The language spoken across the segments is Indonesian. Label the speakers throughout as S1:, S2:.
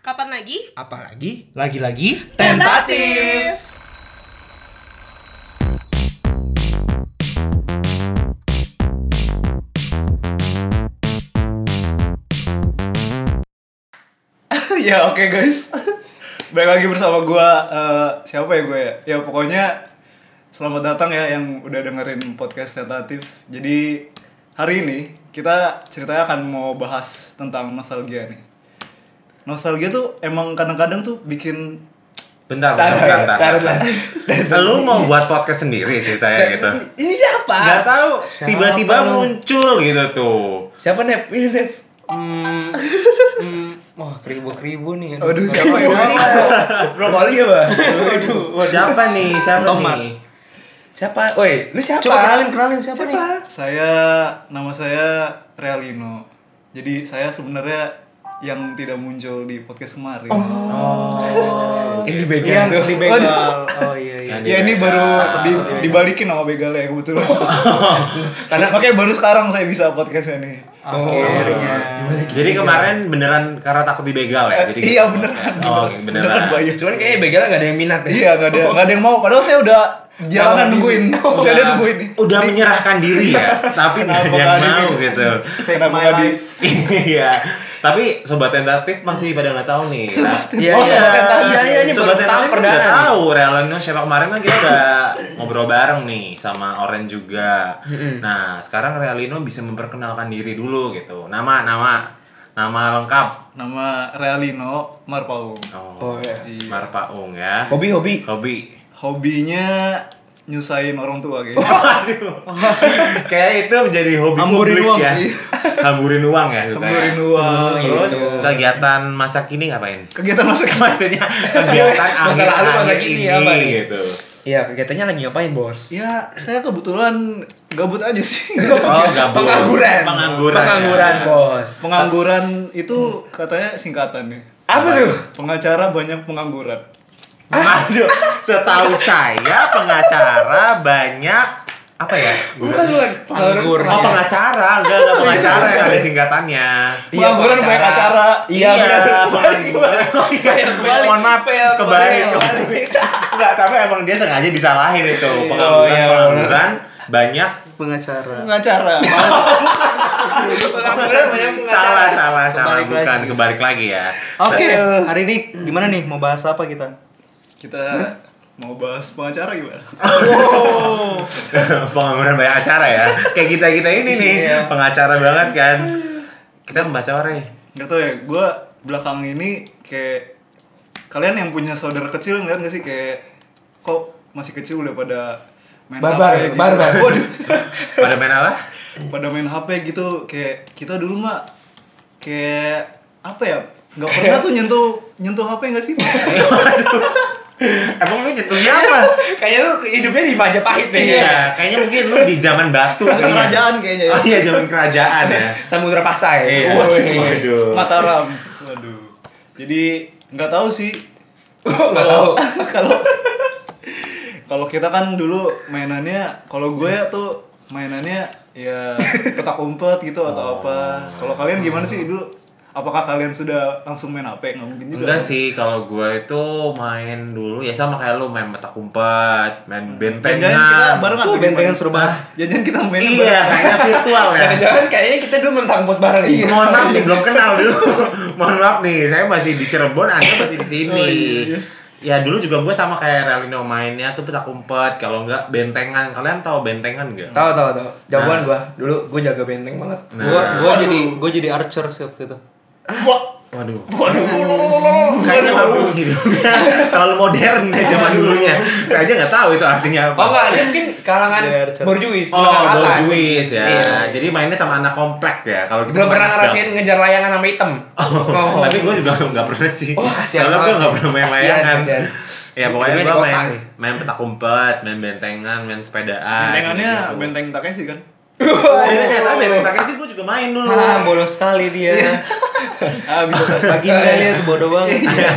S1: Kapan lagi?
S2: Apalagi
S3: Lagi-lagi
S2: tentatif.
S4: ya oke guys balik lagi bersama gua eh, siapa ya gue ya ya pokoknya selamat datang ya yang udah dengerin podcast tentatif jadi hari ini kita ceritanya akan mau bahas tentang nostalgia nih nostalgia tuh emang kadang-kadang tuh bikin
S2: Bentar, bentar, bentar, bentar. Lu mau buat podcast sendiri ceritanya gitu.
S4: ini siapa
S2: Gak tahu
S3: Siapa
S2: tiba-tiba
S3: lu?
S2: muncul gitu tuh.
S4: siapa nep ini nep
S3: Hmm, hmm, wah keribu-keribu nih.
S4: Aduh, siapa ya?
S5: Brokoli ya, Bang?
S2: Siapa nih? Siapa
S3: Tomat.
S2: nih?
S5: Siapa? Woi, lu siapa?
S3: Coba kenalin, kenalin siapa, nih?
S4: saya nama saya Realino jadi saya sebenarnya yang tidak muncul di podcast kemarin Iya,
S2: Oh.
S3: Yang
S5: Ini begal.
S3: di begal. Oh iya iya.
S2: Yang di
S4: Ya ini
S2: begal.
S4: baru di-
S3: iya, iya.
S4: dibalikin sama begal ya kebetulan. Karena makanya baru sekarang saya bisa podcastnya nih.
S3: Akhirnya.
S2: Jadi kemarin beneran karena takut dibegal ya. Jadi
S4: iya beneran.
S2: Oh, oke, beneran.
S4: banyak.
S5: Cuman kayaknya begal nggak ada yang minat ya? deh.
S4: Iya nggak ada nggak ada yang mau. Padahal saya udah jalanan
S5: Tawarin.
S4: nungguin. Saya udah nungguin nih.
S2: Udah menyerahkan diri ya, tapi
S4: Kenapa
S2: yang
S4: nggak
S2: mau
S4: di-
S2: gitu.
S3: Take
S4: Kenapa
S3: my
S4: nggak di-
S3: life.
S2: Iya. Tapi sobat tentatif masih pada nggak tahu nih. Nah,
S5: Iya,
S2: oh,
S5: iya.
S2: sobat
S5: Iya,
S2: tentatif.
S5: iya, ini
S2: sobat
S5: baru tahu
S2: tentatif kan
S5: perdana
S2: udah
S5: nih.
S2: tahu realnya siapa kemarin kan kita udah ngobrol bareng nih sama Oren juga.
S5: Mm-mm.
S2: Nah, sekarang Realino bisa memperkenalkan diri dulu gitu. Nama, nama, nama lengkap.
S4: Nama Realino Marpaung.
S2: Oh,
S5: Oh, iya.
S4: Iya.
S2: Marpaung ya.
S5: Hobi-hobi.
S2: Hobi.
S4: Hobinya nyusahin orang tua kayaknya.
S2: Kayak itu menjadi hobi
S3: Hamburin
S2: publik
S3: uang,
S2: ya.
S3: iya.
S2: Hamburin uang ya. sukanya.
S4: Kemarin uang.
S2: Terus
S4: gitu.
S2: kegiatan masa kini ngapain?
S4: kegiatan masa kemarin.
S2: Maksudnya kegiatan
S5: Masa
S2: akhir,
S5: lalu, masa
S2: akhir
S5: kini
S2: ini
S5: apa nih?
S2: gitu.
S5: Iya, kegiatannya lagi ngapain, Bos?
S4: Ya saya kebetulan gabut aja sih.
S2: Oh, gabut.
S5: Pengangguran.
S2: Pengangguran.
S5: Pengangguran,
S2: ya.
S5: Bos.
S4: Pengangguran itu katanya singkatan nih.
S5: Apa tuh?
S4: Pengacara banyak pengangguran.
S2: Nah, Aduh, setahu saya pengacara banyak apa ya?
S5: Bukan, bukan.
S3: Pengangguran.
S2: Oh, pengacara, enggak enggak pengacara yang ada singkatannya.
S4: Pengangguran banyak acara.
S5: Iya, benar.
S2: pengacara. Oh, iya,
S5: Kebalik.
S2: Mohon maaf,
S5: Fail,
S2: kebalik.
S5: kebalik.
S2: Enggak, tapi emang dia sengaja disalahin itu.
S5: Oh, iya,
S2: Pengangguran-pengangguran banyak
S3: Pengacara.
S4: Pengacara.
S5: Pengangguran banyak
S2: salah salah salah
S3: Kebalik
S2: bukan
S3: lagi.
S2: kebalik lagi ya.
S3: Oke, hari ini gimana nih mau bahas apa kita?
S4: Kita mau bahas pengacara gimana?
S2: Pengangguran banyak acara ya. Kayak kita-kita ini nih,
S3: Iya.
S2: pengacara banget kan. Kita membahas apa, Rey?
S4: Gak tau ya, gue belakang ini kayak kalian yang punya saudara kecil ngeliat gak sih kayak kok masih kecil udah pada main
S5: Barbar,
S4: HP gitu.
S5: barbar.
S4: Waduh,
S2: Pada main apa?
S4: pada main HP gitu kayak kita dulu mah kayak apa ya? Gak pernah tuh nyentuh nyentuh HP gak sih?
S2: Emang lu nyentuhnya apa?
S5: Kayaknya lu hidupnya di Majapahit deh.
S2: Iya, kayaknya mungkin lu di zaman batu
S3: Zaman
S2: kayaknya.
S3: kerajaan kayaknya ya.
S2: Oh iya, zaman kerajaan ya.
S5: Samudra Pasai.
S2: Iya.
S5: Woi.
S2: Waduh.
S4: Mataram. Waduh. Jadi nggak tahu sih
S5: Nggak tahu.
S4: kalau kalau kita kan dulu mainannya kalau gue tuh mainannya ya petak umpet gitu atau apa. Kalau kalian gimana sih dulu? Apakah kalian sudah langsung main HP? Nggak mungkin juga.
S2: Enggak sih, kalau gue itu main dulu ya sama kayak lu main mata kumpet, main bentengan.
S4: Jangan Hmm. kita barengan.
S3: Oh, bentengan seru
S2: Ah,
S3: banget.
S4: Jangan kita main
S2: Iya, kayaknya virtual ya.
S5: Jangan-jangan kayaknya kita dulu mentang buat bareng.
S2: Iya, mohon maaf nih belum kenal dulu. mohon maaf nih, saya masih di Cirebon, Anda masih di sini.
S5: Oh, iya,
S2: Ya dulu juga gue sama kayak Relino mainnya tuh petak umpet, kalau enggak bentengan. Kalian tahu bentengan enggak? Nah,
S5: Tahu tahu tahu. Jagoan gua. Dulu gua jaga benteng banget.
S3: Gua gua jadi gua jadi archer sih waktu itu.
S2: Waduh.
S4: Nah,
S5: Oh,
S2: Kayaknya
S5: Waduh.
S2: terlalu hidupnya terlalu modern ya zaman dulunya. Saya aja nggak tahu itu artinya
S5: Oh
S2: apa.
S5: enggak, dia mungkin karangan
S3: Iya, Richard.
S5: borjuis,
S2: Oh,
S5: menengah atas.
S2: borjuis ya.
S5: Iya.
S2: Jadi mainnya sama anak komplek ya. Kalau kita
S5: Belum pernah
S2: main-
S5: ngerasain ngejar layangan sama item.
S2: Oh, tapi gue juga nggak pernah sih.
S5: Oh, kasihan
S2: Soalnya gue
S5: banget.
S2: nggak pernah main
S5: Kasihan,
S2: layangan.
S5: kasihan.
S2: Ya pokoknya
S5: Hidupnya di
S2: gue
S5: kota
S2: main
S5: nih.
S2: main petak umpet, main bentengan, main sepedaan.
S4: Bentengannya
S2: gitu.
S4: benteng Takeshi kan?
S2: Bentengan, iya, tapi benteng Takeshi gue juga main dulu.
S3: Ah, bolos sekali
S5: Iya.
S3: dia.
S4: Ah, bisa.
S3: Baginda dia tuh bodoh banget. Iya,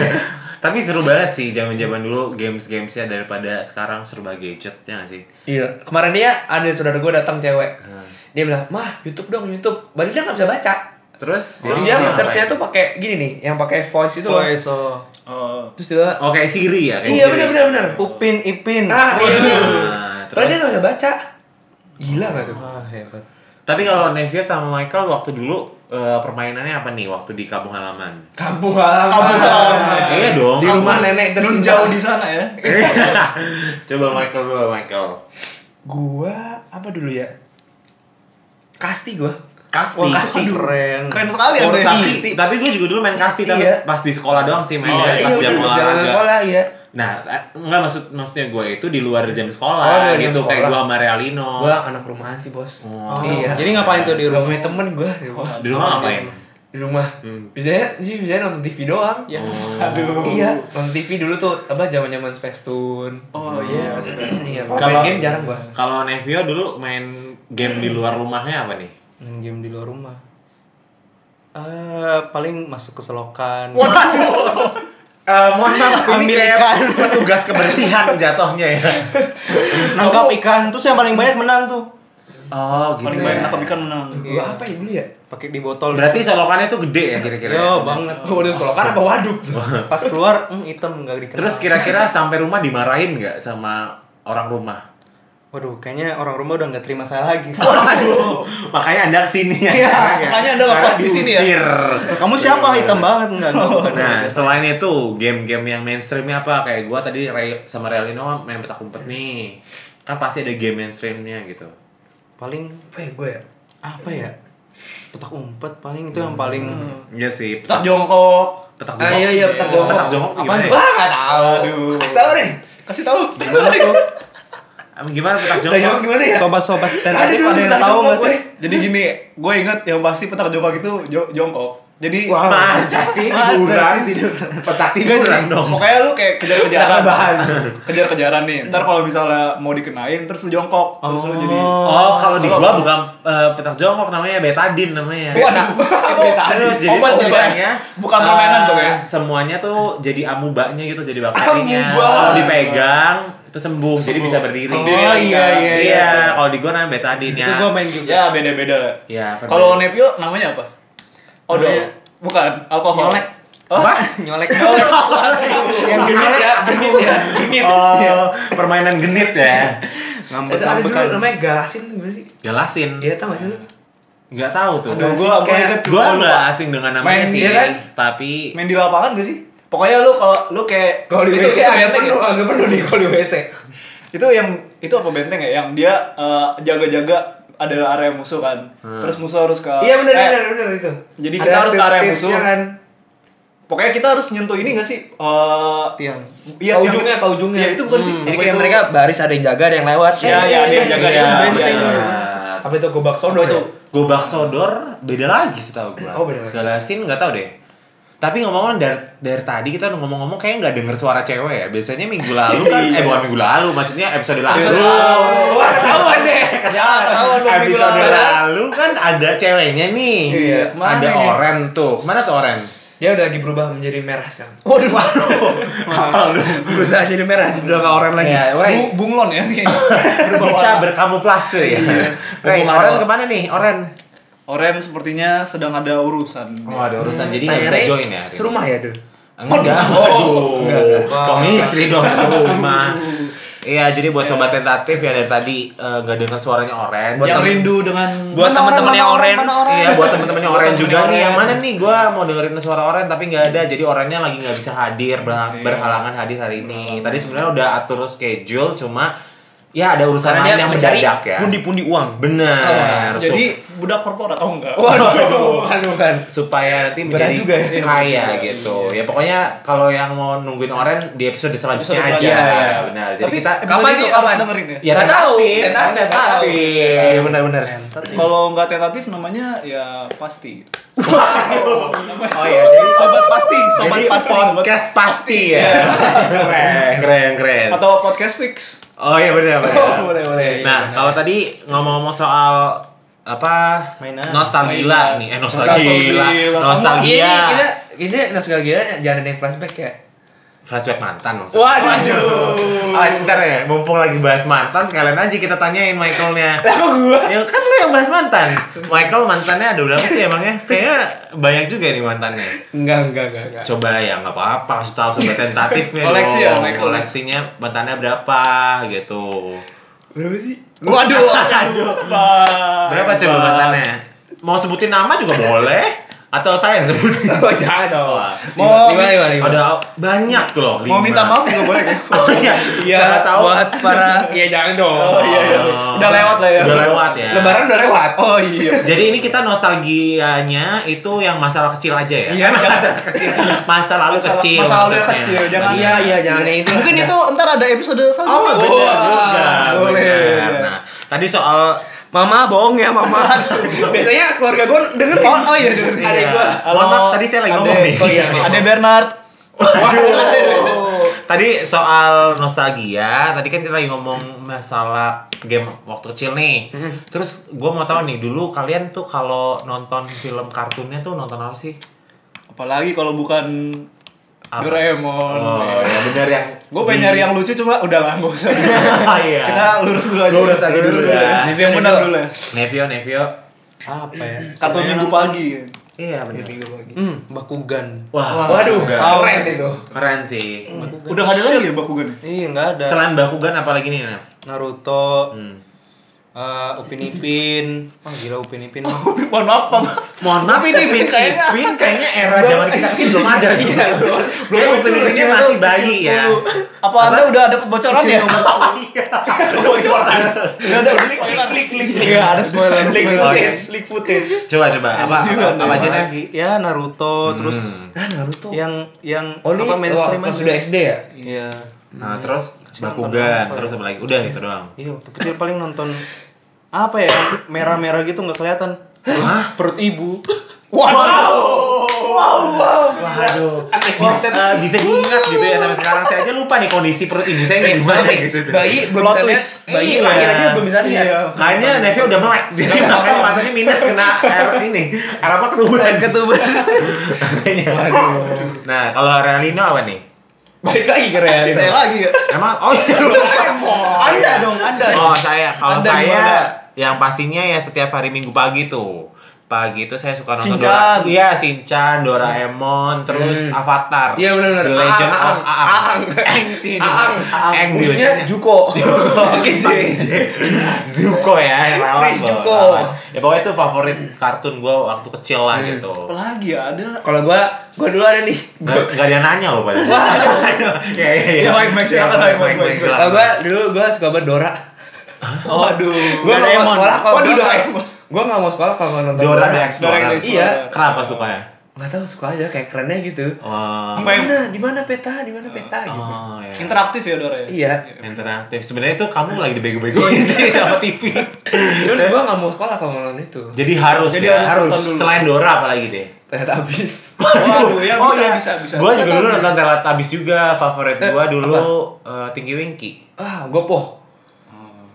S2: tapi seru banget sih zaman-zaman dulu games-gamesnya daripada sekarang serba gadget ya nggak sih?
S5: Iya. Kemarin dia ada saudara gua datang cewek.
S2: Hmm.
S5: Dia bilang, "Mah, YouTube dong, YouTube." Padahal dia nggak bisa baca.
S2: Terus
S5: Jadi dia nge-search-nya tuh pakai gini nih, yang pakai voice itu loh.
S3: Woi, so
S4: Oh.
S5: Terus dia
S2: Oh kayak Siri ya? kayak
S5: Iya,
S2: Siri.
S5: benar benar benar.
S3: Upin Ipin.
S5: Ah, iya. bener.
S2: Nah,
S5: Padahal
S2: terus,
S5: dia nggak bisa baca. Gila nggak tuh?
S3: Wah, hebat.
S2: tapi kalau Nevia sama Michael waktu dulu eh, permainannya apa nih waktu di kampung halaman?
S5: Kampung halaman.
S4: Kampung halaman.
S2: Ah, Iya dong.
S5: Di rumah nenek
S4: Nun
S5: tercinta.
S4: jauh di sana ya.
S2: Coba Michael dulu Michael.
S5: Gua apa dulu ya? Kasti
S2: Oh,
S5: gua.
S2: Kasti.
S3: Wah, kasti keren.
S4: Keren sekali ya.
S2: Oh,
S4: Bre.
S2: tapi, tapi gue juga dulu main kasti, tapi
S5: Iya.
S2: pas di sekolah doang sih
S4: Oh,
S2: mainnya,
S4: iya,
S2: pas
S5: bener,
S2: jam
S5: di jalan
S2: olahraga.
S5: sekolah iya.
S2: Nah, eh, enggak maksud maksudnya gue itu di luar jam sekolah,
S5: Oh, di luar jam
S2: gitu kayak
S5: sekolah.
S2: gue sama Realino.
S5: Gua anak rumahan sih, Bos.
S2: Oh.
S5: Iya.
S3: Jadi ngapain tuh di
S5: Gak
S3: rumah?
S5: punya temen gua di rumah.
S2: Di rumah ngapain?
S5: Di rumah.
S2: Hmm.
S5: Biasanya sih biasanya nonton TV doang.
S3: Ya.
S2: Oh.
S4: Aduh.
S5: Iya, nonton TV dulu tuh apa zaman-zaman Spacetoon.
S4: Oh iya.
S5: Iya,
S2: Oh. Kalau-
S5: kalau main game jarang gua.
S2: Kalau Nevio dulu main game di luar rumahnya apa nih?
S3: Main game di luar rumah. Eh, paling masuk ke selokan.
S2: Eh, mohon maaf,
S3: Ambil
S2: kayak
S3: ikan.
S2: petugas kebersihan jatuhnya ya.
S3: nangkap ikan terus yang paling banyak menang tuh Iya.
S2: Oh, gitu.
S4: Paling
S2: ya.
S4: banyak nangkap ikan menang.
S5: Gua apa ya dulu ya?
S3: pakai di botol
S2: Berarti solokannya tuh gede ya kira-kira. ya?
S3: yo banget
S5: Waduh, selokan Kan apa waduk?
S3: pas keluar hmm, hitam nggak dikenal
S2: Terus kira-kira sampai rumah dimarahin nggak sama orang rumah?
S3: waduh kayaknya orang rumah udah nggak terima saya lagi
S2: Waduh, makanya anda kesini ya.
S4: Iya,
S2: sekarang ya.
S4: makanya Anda
S2: Karena
S4: lepas di sini ya.
S2: diusir.
S3: kamu
S5: Iya,
S3: siapa hitam banget nggak nggak, bukan,
S2: Nah,
S3: nggak.
S2: selain itu game-game yang mainstreamnya apa? Kayak gua tadi Ray- sama Relino main petak umpet nih. Kan pasti ada game mainstreamnya gitu.
S3: paling
S5: Apa ya gua ya?
S3: apa ya petak umpet paling itu yang paling
S2: Iya sih,
S4: Tak
S2: petak
S4: jongkok.
S2: petak
S5: Ah, iya, iya, petak jongkok.
S2: Petak jongkok
S3: Apaan
S2: gimana? ya?
S3: tuh?
S5: Wah, nggak tahu.
S4: Aduh.
S5: Kasih tahu deh.
S4: Kasih tahu.
S3: gimana tuh
S2: Em, Gimana petak
S5: Udah jawab
S2: jongkok?
S5: gimana ya?
S3: sobat-sobat
S5: Ada
S3: tentatif
S5: dulu
S3: ada yang
S5: petak
S3: tahu
S5: jongkok
S3: nggak sih
S5: gue.
S4: Jadi gini, gue inget yang pasti petak jongkok itu jo- jongkok. Jadi
S2: Masa sih
S3: Masa
S2: tiduran?
S3: sih tiduran?
S2: Petak
S4: Enggak
S2: tiduran
S4: jadi,
S2: dong.
S4: Pokoknya lu kayak kejar-kejaran.
S5: Nggak bahan.
S4: kejar-kejaran nih. Ntar kalau misalnya mau dikenain terus lu jongkok, terus lu jadi
S2: Oh, kalau di
S4: Kalau-
S2: gua bukan eh, petak jongkok namanya betadin namanya.
S4: Waduh, itu
S2: Terus jadi
S4: obat sih,
S2: ceritanya
S4: Bukan permainan
S2: eh,
S4: tuh ya.
S2: Semuanya tuh jadi amubanya gitu, jadi bakterinya.
S5: Amuba.
S2: Kalau dipegang itu sembuh,
S4: Sembuh.
S2: jadi bisa berdiri.
S4: Sendiri
S3: Oh,
S4: kan?
S3: iya, iya.
S2: Iya, kalau di gua namanya betadin ya.
S3: itu gua main juga
S4: Ya beda-beda lah.
S2: Iya, pernah.
S4: Kalau Nepio namanya apa? Odol.
S3: Namanya-
S4: Bukan, alkohol.
S3: nyolek
S4: Oh.
S3: Wah, nyolek yang
S5: Genit
S3: nyolek
S5: ya, genit ya, genit.
S2: Oh, permainan genit ya.
S3: ngambek kan.
S5: Ada ada dulu
S3: ngambekan
S5: namanya galasin tuh gimana sih?
S2: Galasin.
S5: Iya tau gak sih lu?
S2: Nggak tahu tuh.
S4: Aduh, gua gua
S5: Kayak-
S4: inget
S2: gua
S4: gua
S2: nggak asing dengan namanya
S4: Main
S2: sih,
S4: dia kan?
S2: tapi
S4: main di lapangan gak sih? Pokoknya lu kalau lu kayak
S5: Kalau di
S4: itu,
S5: WC
S4: itu
S5: agak
S4: benteng ya?
S5: penuh, agak penuh nih kalau di WC.
S4: Itu yang itu apa benteng ya? Yang dia eh, jaga-jaga ada area musuh kan.
S2: Hmm.
S4: Terus musuh harus ke
S5: Iya benar
S4: eh,
S5: benar benar itu.
S4: jadi kita harus ke arah yang
S5: stage-stage-nya
S4: musuh.
S5: kan.
S4: Pokoknya kita harus nyentuh ini gak sih? Eh,
S3: tiang
S4: iya, yang-
S5: Ke ujungnya, ke ujungnya.
S4: Iya, itu bukan sih.
S5: Jadi
S4: Apa
S5: kayak
S4: itu?
S5: mereka baris ada yang jaga, ada yang lewat.
S4: Iya, iya, ada yang jaga, ada yang
S2: Iya,
S3: benteng
S2: iya.
S3: dulu.
S5: Apa itu gobak sodo
S4: Apa itu?
S5: itu?
S2: Gobak sodor beda lagi setahu gua.
S5: Oh, beda lagi.
S2: Galasin nggak tahu deh. Tapi ngomong-ngomong dari, dari tadi kita udah ngomong-ngomong kayak nggak denger suara cewek ya. Biasanya minggu lalu kan eh bukan minggu lalu, maksudnya episode lalu.
S4: Episode lalu.
S5: Wah, ketahuan deh.
S3: ya ketahuan lu minggu
S2: episode
S3: lalu.
S2: lalu kan ada ceweknya nih.
S5: Iya, kemana
S2: ada
S5: ini?
S2: oren tuh. Mana tuh oren?
S5: Dia udah lagi berubah menjadi merah sekarang.
S2: Waduh, waduh.
S5: Berusaha jadi merah, jadi udah gak orang lagi.
S2: Ya,
S4: Bu,
S2: Ray,
S4: bunglon ya kayaknya.
S2: bisa berkamuflase ya. Ray,
S4: Berwarna.
S2: oren kemana nih? Oren.
S4: Oren sepertinya sedang ada urusan.
S2: Oh, ada urusan jadi nggak
S5: Tanya
S2: bisa
S5: Ray,
S2: join ya. hari ini.
S5: Serumah ya, Dul?
S2: Enggak. Oh, suami istri dong satu rumah. Iya, jadi buat sobat tentatif ya dari tadi eh, nggak dengar suaranya Oren. Buat
S4: yang
S2: tem-
S4: rindu dengan
S2: buat
S4: Mana Oren,
S2: teman-teman
S4: mana
S2: yang Oren,
S4: mana Oren?
S2: iya buat teman-teman yang
S4: Buat
S2: Oren juga
S4: temen-temen
S2: nih. Yang
S4: Oren.
S2: mana nih? Gua mau dengerin suara Oren tapi nggak ada. Jadi Orennya lagi nggak bisa hadir, ber- berhalangan hadir hari ini. Tadi sebenarnya udah atur schedule, cuma ya ada urusan lain yang mendadak ya.
S5: pundi-pundi uang.
S2: Bener.
S4: Jadi
S2: Oh, Jadi
S4: budak korporat oh enggak.
S5: Waduh, bukan, bukan.
S2: supaya nanti
S5: Berat
S2: menjadi
S5: juga
S4: ya.
S2: kaya gitu. Ya pokoknya kalau yang mau nungguin Oren di episode selanjutnya
S4: Episode
S2: aja.
S4: selanjutnya.
S2: Ya, benar. Jadi
S4: Tapi eh,
S2: kita
S5: kapan
S4: episode itu
S5: nih,
S4: harus
S5: kapan?
S4: dengerin ya.
S2: Ya
S5: Nggak tahu,
S2: tentatif,
S5: nggak tahu, nggak tahu.
S2: tentatif.
S5: Iya, benar-benar.
S4: Kalau nggak tentatif namanya ya pasti.
S2: Oh iya, jadi
S4: Sobat pasti, sobat
S2: jadi
S4: pasti.
S2: podcast pasti ya. keren, keren, keren.
S4: Atau podcast fix.
S2: Oh iya benar benar.
S5: Boleh, boleh.
S2: Nah, kalau tadi ngomong-ngomong soal apa
S3: Mainan.
S2: nostalgia
S4: Mainan.
S2: nih eh nostalgia
S4: Nostalgia.
S5: Iya,
S2: nostalgia
S5: nih, kita kita nostalgia jangan ada yang flashback ya.
S2: flashback mantan maksudnya
S5: Waduh.
S2: Ah, ntar ya, mumpung lagi bahas mantan sekalian aja kita tanyain Michaelnya.
S5: Lah kok gua?
S2: ya kan lu lu yang bahas mantan. Michael mantannya ada berapa sih emangnya? Kayaknya banyak juga nih mantannya.
S5: Enggak, enggak, enggak, enggak.
S2: Coba ya nggak apa-apa, kasih tahu sobat tentatifnya
S4: Koleksi ya,
S2: dong.
S4: Michael.
S2: Koleksinya mantannya berapa gitu.
S4: Berapa sih? Waduh, aduh, lupa.
S2: Berapa coba mantannya? Mau sebutin nama juga boleh atau saya yang sebutin?
S5: Oh, jangan dong.
S4: Mau-
S5: lima, lima, lima.
S2: Ada banyak tuh loh.
S4: Mau
S2: lima.
S4: minta maaf juga boleh ya?
S2: Oh iya,
S5: Iya,
S2: Siapa tahu.
S5: buat para Iya, jangan dong.
S4: Oh iya, iya. Udah lewat lah ya.
S2: Udah lewat ya.
S5: Lebaran udah lewat.
S4: Oh iya.
S2: Jadi ini kita nostalgianya itu yang masalah kecil aja ya.
S4: Iya,
S2: masalah kecil. Masa lalu
S4: Masa-
S2: kecil.
S4: masa lalu yang
S2: maksudnya.
S4: kecil, jangan-
S5: Iya, iya, jangan yang itu.
S4: Mungkin itu ntar ada episode
S2: Oh,
S4: selanjutnya.
S2: benar
S5: Wah,
S2: juga.
S4: boleh.
S2: benar. Nah, tadi soal
S5: Mama bohong ya, Mama. Biasanya keluarga gue denger
S4: Oh, oh iya dengerin.
S5: Ada gua.
S2: Mohon maaf, tadi saya lagi
S4: Ade-
S2: ngomong nih.
S5: Oh iya, iya.
S4: Ade Bernard.
S5: Aduh.
S2: Tadi soal nostalgia, tadi kan kita lagi ngomong masalah game waktu kecil nih. Terus gue mau tahu nih dulu kalian tuh kalau nonton film kartunnya tuh nonton apa sih?
S4: Apalagi kalau bukan
S2: Apa?
S4: Doraemon.
S2: Oh, ya benar yang
S4: Gue pengen nyari yang lucu cuma udah lah nggak usah.
S2: iya.
S4: Kita lurus dulu aja.
S2: Lurus aja dulu ya.
S5: Review yang bener.
S4: dulu ya.
S2: Nevio, Nevio.
S3: Apa ya?
S4: Kartu
S3: Sebenarnya
S4: minggu
S3: nonton-
S4: pagi. kan.
S2: Iya benar.
S3: Hmm, Bakugan.
S2: Wah,
S5: Waduh,
S2: Bakugan.
S5: keren itu.
S2: keren sih.
S3: Mm.
S4: Udah nggak ada lagi ya Bakugan?
S3: Iya, nggak ada.
S2: Selain Bakugan apalagi nih, Nev?
S3: Naruto,
S2: Hmm.
S3: eh, Upin Ipin. Wah, gila Upin Ipin. mah.
S4: Tapi mohon maaf Pak.
S2: Mohon maaf ini Pin
S4: Kayaknya-
S2: Ipin kayaknya era zaman kita kecil belum ada gitu. Belum
S4: muncul,
S2: Upin Ipinnya
S4: kecil
S2: masih
S4: tuh,
S2: bayi
S4: kecil
S2: ya.
S4: sepuluh. Apa Anda udah ada bocoran ya? Udah ada link, link, link. Iya, ada spoiler, ada
S5: Leak
S4: spoiler.
S5: footage, leak footage.
S2: Coba coba apa
S4: Juga
S2: apa, apa
S4: nih,
S2: aja Nev?
S3: lagi? Ya
S2: Oh,
S3: Naruto,
S2: Hmm.
S3: terus
S5: Kan Naruto.
S3: yang yang
S5: Oh, ini
S3: Iya. apa mainstream
S5: pas
S3: aja.
S5: udah SD ya?
S3: Iya.
S2: Nah, terus
S3: nonton
S2: Bakugan,
S3: apa ya?
S2: terus apa lagi? Udah gitu doang.
S3: Iya, waktu kecil paling nonton apa ya? yang Merah-merah gitu nggak kelihatan.
S2: Hah?
S3: Perut ibu.
S4: Waduh.
S5: Wow, wow.
S2: Waduh.
S5: Anekdistan.
S2: Eh, bisa diingat gitu ya sampai sekarang saya aja lupa nih kondisi perut ibu saya kayak gimana gitu tuh.
S5: Bayi belum
S4: Plot
S5: bisa lihat.
S4: twist.
S5: Bayi
S2: Iya.
S5: lahir aja belum bisa lihat.
S4: Iya.
S2: Kayaknya Nevio udah melek, jadi makanya matanya minus kena air ini. Air apa ketubuhan? Ketubuhan. nah, kalau Realino apa nih?
S5: Balik lagi ke realita.
S4: Saya lagi ya.
S2: Emang, oh iya
S4: Anda dong, Anda.
S2: Oh saya, kalau
S4: Anda
S2: saya
S4: gimana?
S2: yang pastinya ya setiap hari Minggu pagi tuh pagi itu saya suka nonton
S4: Shinchan.
S2: Dora- Iya, Shinchan, Doraemon, terus
S5: Hmm.
S2: Avatar.
S5: Iya, benar-benar.
S2: The Legend
S5: Aang,
S2: of Aang.
S5: Aang.
S2: Aang sih.
S5: Aang.
S2: Aang biasanya.
S5: Musuhnya Juko. Oke, J.
S2: Zuko ya, yang lawan
S5: Please,
S2: gua,
S5: Zuko.
S2: lawan. Ya pokoknya itu favorit kartun gue waktu kecil lah
S5: Hmm.
S2: gitu.
S4: Apalagi ya ada
S5: Kalau gua, gua dulu ada nih.
S2: Nggak, nggak ada yang nanya loh padahal. Ya, ya, ya.
S4: Ya, baik, baik, silakan, baik, baik, baik.
S2: silakan.
S5: Kalau gua dulu gua suka banget Dora.
S4: Waduh.
S5: Gua nggak mau
S4: Doraemon.
S5: sekolah kalau
S4: Waduh,
S5: gua-
S4: Doraemon.
S5: Gua nggak mau sekolah kalau nggak nonton
S2: Dora the
S4: Dora the
S2: Explorer.
S4: Explorer.
S5: Iya.
S2: Kenapa sukanya?
S5: Nggak tahu suka aja kayak kerennya gitu.
S2: Wah.
S5: Di mana? Di mana peta? Di mana peta gitu.
S2: Oh, ya.
S4: Interaktif ya Dora ya?
S5: Iya.
S2: interaktif sebenarnya itu kamu lagi dibego-begoin sih sama TV
S5: Dulu gua nggak mau sekolah kalau nonton itu.
S2: jadi harus
S4: Jadi
S2: ya?
S4: harus nonton dulu.
S2: selain Dora apalagi deh
S5: Ternyata habis.
S4: Waduh, ya
S2: oh
S4: bisa,
S2: iya
S4: bisa, bisa.
S2: gua juga
S4: Ternyata
S2: dulu
S4: bisa.
S2: nonton Teletubbies juga favorit gua dulu eh, Tinggi Winky
S5: Ah, gua poh.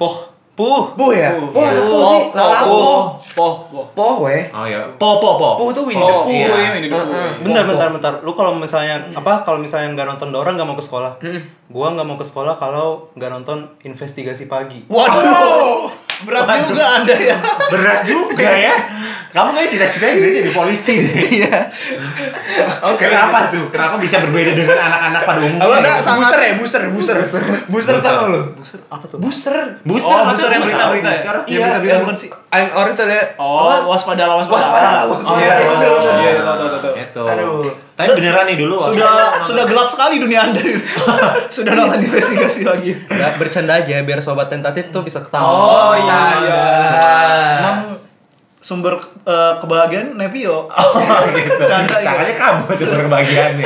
S2: poh
S4: Puh.
S5: Poh ya?
S4: Puh.
S5: Poh,
S4: Iya.
S5: ada
S4: Poh,
S5: poh nih. Lawan
S4: poh,
S5: poh.
S4: Poh, poh.
S5: Poh, weh.
S2: oh iya poh poh poh
S5: Poh tuh Winnie the
S4: Oh,
S5: Pooh. ya?
S2: iya.
S4: iya, ini dulu.
S5: Heeh.
S3: Bentar,
S5: Foto.
S3: bentar, bentar. Lu kalau misalnya apa? Kalau misalnya nggak nonton Dora nggak mau ke sekolah. Gua nggak mau ke sekolah kalau nggak nonton investigasi pagi.
S4: Waduh. Berat
S2: Waduh.
S4: juga Anda ya.
S2: berat juga ya kamu kayak cita-citanya jadi jadi polisi deh
S4: Iya.
S2: Oke, kenapa tuh? Kenapa bisa berbeda dengan anak-anak pada
S5: Apa
S2: umumnya?
S5: enggak
S2: gitu?
S5: sangat buser ya, buser, buser. Buser
S4: Iya,
S5: sama lu.
S3: Buset, apa tuh?
S5: Buser.
S2: Buser,
S4: Oh,
S2: maksudnya
S4: buser yang
S2: buser.
S4: berita-berita ya?
S2: Buser.
S4: Iya, berita-berita bukan sih?
S5: Yang orang itu ada
S4: Oh, waspada lah, waspada.
S5: Waspada lah, waspada.
S4: Oh, iya,
S5: Iya,
S4: iya,
S5: betul.
S4: iya, iya, tahu, tahu, tahu.
S2: Itu.
S5: Aduh.
S2: Tapi beneran nih dulu. waktu-
S4: Sudah sudah gelap sekali dunia Anda. sudah nonton investigasi lagi.
S3: Nggak, bercanda aja biar sobat tentatif tuh bisa ketawa.
S4: Oh, iya, iya.
S5: Bercanda.
S4: Emang sumber eh, kebahagiaan Nepio.
S2: Oh, gitu.
S4: Bercanda, iya.
S2: Sangkanya kamu sumber kebahagiaannya.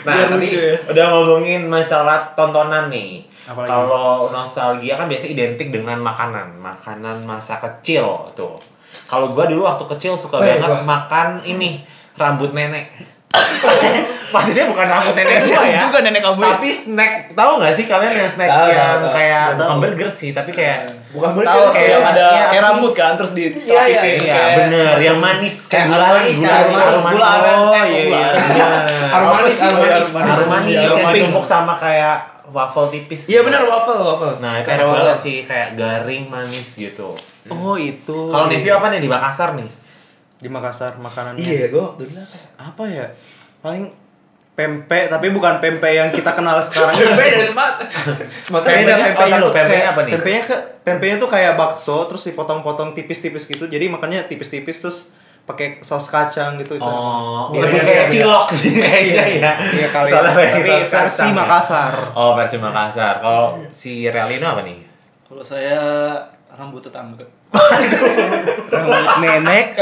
S2: Nah,
S4: Biar
S2: tadi
S4: lucu ya.
S2: udah ngomongin masalah tontonan nih.
S3: Apalagi?
S2: Kalau nostalgia kan biasanya identik dengan makanan, makanan masa kecil tuh. Kalau gua dulu waktu kecil suka
S5: Eh,
S2: banget
S5: gua.
S2: makan ini rambut nenek. Maksudnya bukan rambut nenek gua
S4: Kasihan
S2: ya.
S4: juga nenek kamu. ya.
S2: Tapi snack, tahu nggak sih kalian yang snack
S5: Tahu,
S2: yang
S5: tahu, Iya. tahu.
S2: kayak
S3: Tahu.
S2: bukan burger sih, tapi kayak
S5: Bukan
S4: Tahu kayak yang ada
S2: Iya.
S4: kayak rambut kan terus di
S5: Iya, iya,
S2: Iya,
S5: Kayak
S2: bener, yang manis kayak
S5: Kayak
S2: gula
S5: manis,
S2: gula
S5: kayak
S2: gula
S5: manis,
S2: manis.
S4: gula aren.
S2: Oh
S4: Eh,
S2: iya
S4: gula
S2: iya.
S4: aren.
S5: Harum
S2: Bener.
S4: Apa
S5: manis,
S4: sih?
S5: harum
S4: Oh, iya,
S5: manis.
S4: harum
S2: Harum manis
S4: Iya,
S2: yang
S4: harum manis.
S2: ditumpuk sama kayak waffle tipis.
S5: Iya benar waffle, waffle.
S2: Nah, itu
S5: Kayak
S2: enak
S5: waffle.
S2: banget sih kayak garing manis gitu.
S3: Oh itu.
S2: Kalau Nevi apa nih di Makassar nih?
S3: di Makassar makanannya.
S5: gue Iya, waktu dulu apa?
S3: Apa ya? Paling pempek tapi bukan pempek yang kita kenal sekarang.
S5: Beda sempat.
S2: Pempek-
S3: Beda,
S2: pempek
S3: otak
S2: lu,
S3: tuh
S2: pempeknya
S3: kayak-
S2: apa nih?
S3: Pempeknya ke pempeknya tuh kayak bakso terus dipotong-potong tipis-tipis gitu. Jadi makannya tipis-tipis terus pakai saus kacang gitu itu.
S2: Oh,
S3: Iya,
S2: lebih
S3: iya,
S2: kayak
S3: iya.
S2: cilok sih kayaknya ya.
S3: Iya kali.
S2: Soalnya pakai
S3: Tapi
S2: saus
S3: versi
S2: kacang ya.
S3: Makassar.
S2: Oh, versi Makassar. Kalau si Relino apa nih?
S4: Kalau saya rambut tetangga.
S3: Rambut nenek.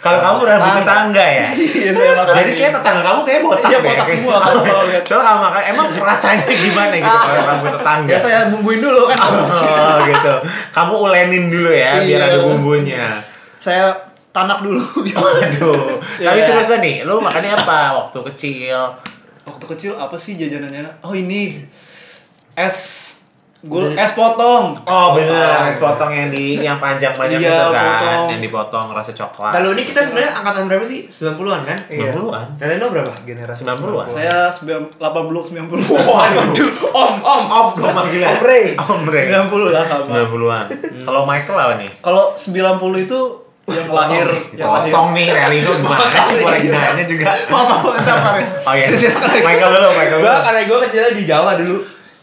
S2: Kalau kamu rambut tetangga ya.
S4: Iya saya makan.
S2: Jadi kayak tetangga kamu kayak botak
S4: Iya,
S2: deh.
S4: botak semua kalau- kalau lihat.
S2: Coba kamu makan, emang rasanya gimana gitu kalau rambut tetangga?
S3: Ya saya bumbuin dulu kan.
S2: Oh gitu. Kamu ulenin dulu ya biar
S3: Iya.
S2: ada bumbunya.
S3: saya tanak dulu.
S2: Waduh.
S3: Iya.
S2: Tapi seriusan nih, lu makannya apa waktu kecil?
S4: Waktu kecil apa sih jajanannya? Oh ini es gul es potong.
S2: Oh bener, es potong yang di yang panjang panjang
S4: Iya,
S2: itu kan,
S4: potong.
S2: yang dipotong rasa coklat.
S5: Kalau ini kita sebenarnya angkatan berapa sih? 90-an kan?
S2: 90-an.
S5: Kalian lo berapa?
S3: Generasi
S2: 90-an.
S4: Saya 90 80 90.
S2: Waduh.
S5: Om, om.
S2: Om, gue manggilnya. Om
S3: Rey.
S2: Om Rey.
S4: 90 lah sama.
S2: 90-an. Kalau Michael apa nih?
S4: Kalau 90 itu yang lahir yang lahir.
S2: Iya, Potong nih, Relino gimana sih? Gue lagi nanya juga.
S3: Potong entar entar ya.
S2: Oh iya, Michael dulu, Michael
S5: Gue
S2: dulu.
S5: karena gue kecil di Jawa dulu.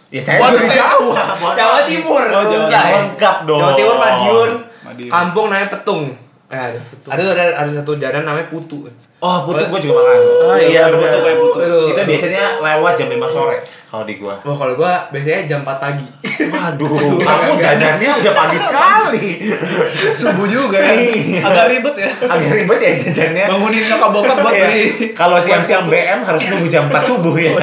S2: Ya saya
S4: Waduh,
S2: dari
S4: saya-
S2: Jawa.
S5: Jawa Timur.
S4: Oh, Jawa
S5: Usai.
S2: Timur. Lengkap dong.
S5: Jawa Timur Madiun.
S4: Madiun.
S5: Kampung namanya Petung. Eh, ada ada ada satu jalan namanya Putu.
S2: Oh, putu gue juga makan. Ah,
S3: Oh, iya,
S2: bener.
S3: putu, kayak
S5: putu.
S2: Itu biasanya lewat jam 5 sore kalau di gua.
S5: Wah Oh, kalau gue biasanya jam 4 pagi.
S2: Waduh, kamu jajannya udah pagi sekali.
S4: Subuh juga ya.
S5: Iya.
S2: Iya.
S4: Agak ribet ya.
S2: Agak ribet ya jajannya.
S4: Bangunin nyokap bokap buat
S2: Iya.
S4: beli.
S2: Kalau siang-siang BM harus nunggu jam 4 subuh ya.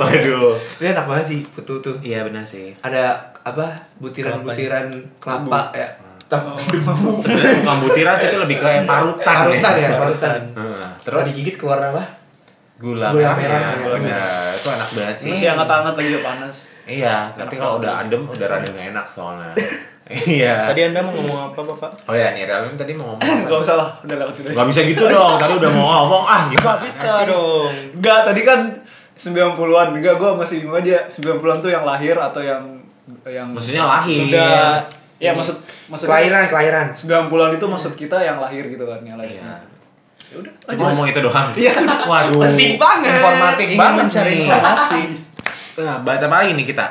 S2: Waduh.
S5: Itu enak banget sih Putu tuh.
S2: Iya benar sih.
S5: Ada apa butiran-butiran kelapa ya.
S4: Oh.
S2: Sebenarnya bukan butiran sih itu lebih ke parutan.
S5: Parutan ya, parutan.
S2: Heeh.
S5: Terus
S2: terus
S5: digigit keluar apa?
S2: gula,
S5: Gula merah,
S2: merah,
S5: ya.
S2: gula merah. itu enak banget sih.
S4: Masih hangat-hangat lagi udah panas.
S2: Hmm. Iya, tapi kalau udah adem udah rada nggak enak soalnya. Iya.
S3: Tadi Anda mau ngomong apa, Bapak?
S2: Oh ya, nih Realim tadi mau ngomong.
S4: Gak
S2: apa?
S4: usah lah, udah lewat udah.
S2: Gak bisa gitu dong, tadi udah mau ngomong ah gimana
S3: Bisa dong.
S4: Enggak, tadi kan 90-an. Enggak, gua masih bingung aja. 90-an tuh yang lahir atau yang yang
S2: Maksudnya lahir.
S4: Sudah Ya maksud maksud
S5: Kelahiran, kelahiran.
S4: 90-an itu maksud kita yang lahir gitu kan, yang lahir.
S2: Iya.
S4: sembilan. Ya udah,
S2: Cuma ngomong itu doang.
S4: Iya.
S2: Waduh.
S5: Penting banget.
S2: Informatif
S5: Ingin
S2: banget
S3: mencari
S2: nih.
S3: informasi.
S2: Nah, bahas apa lagi nih kita?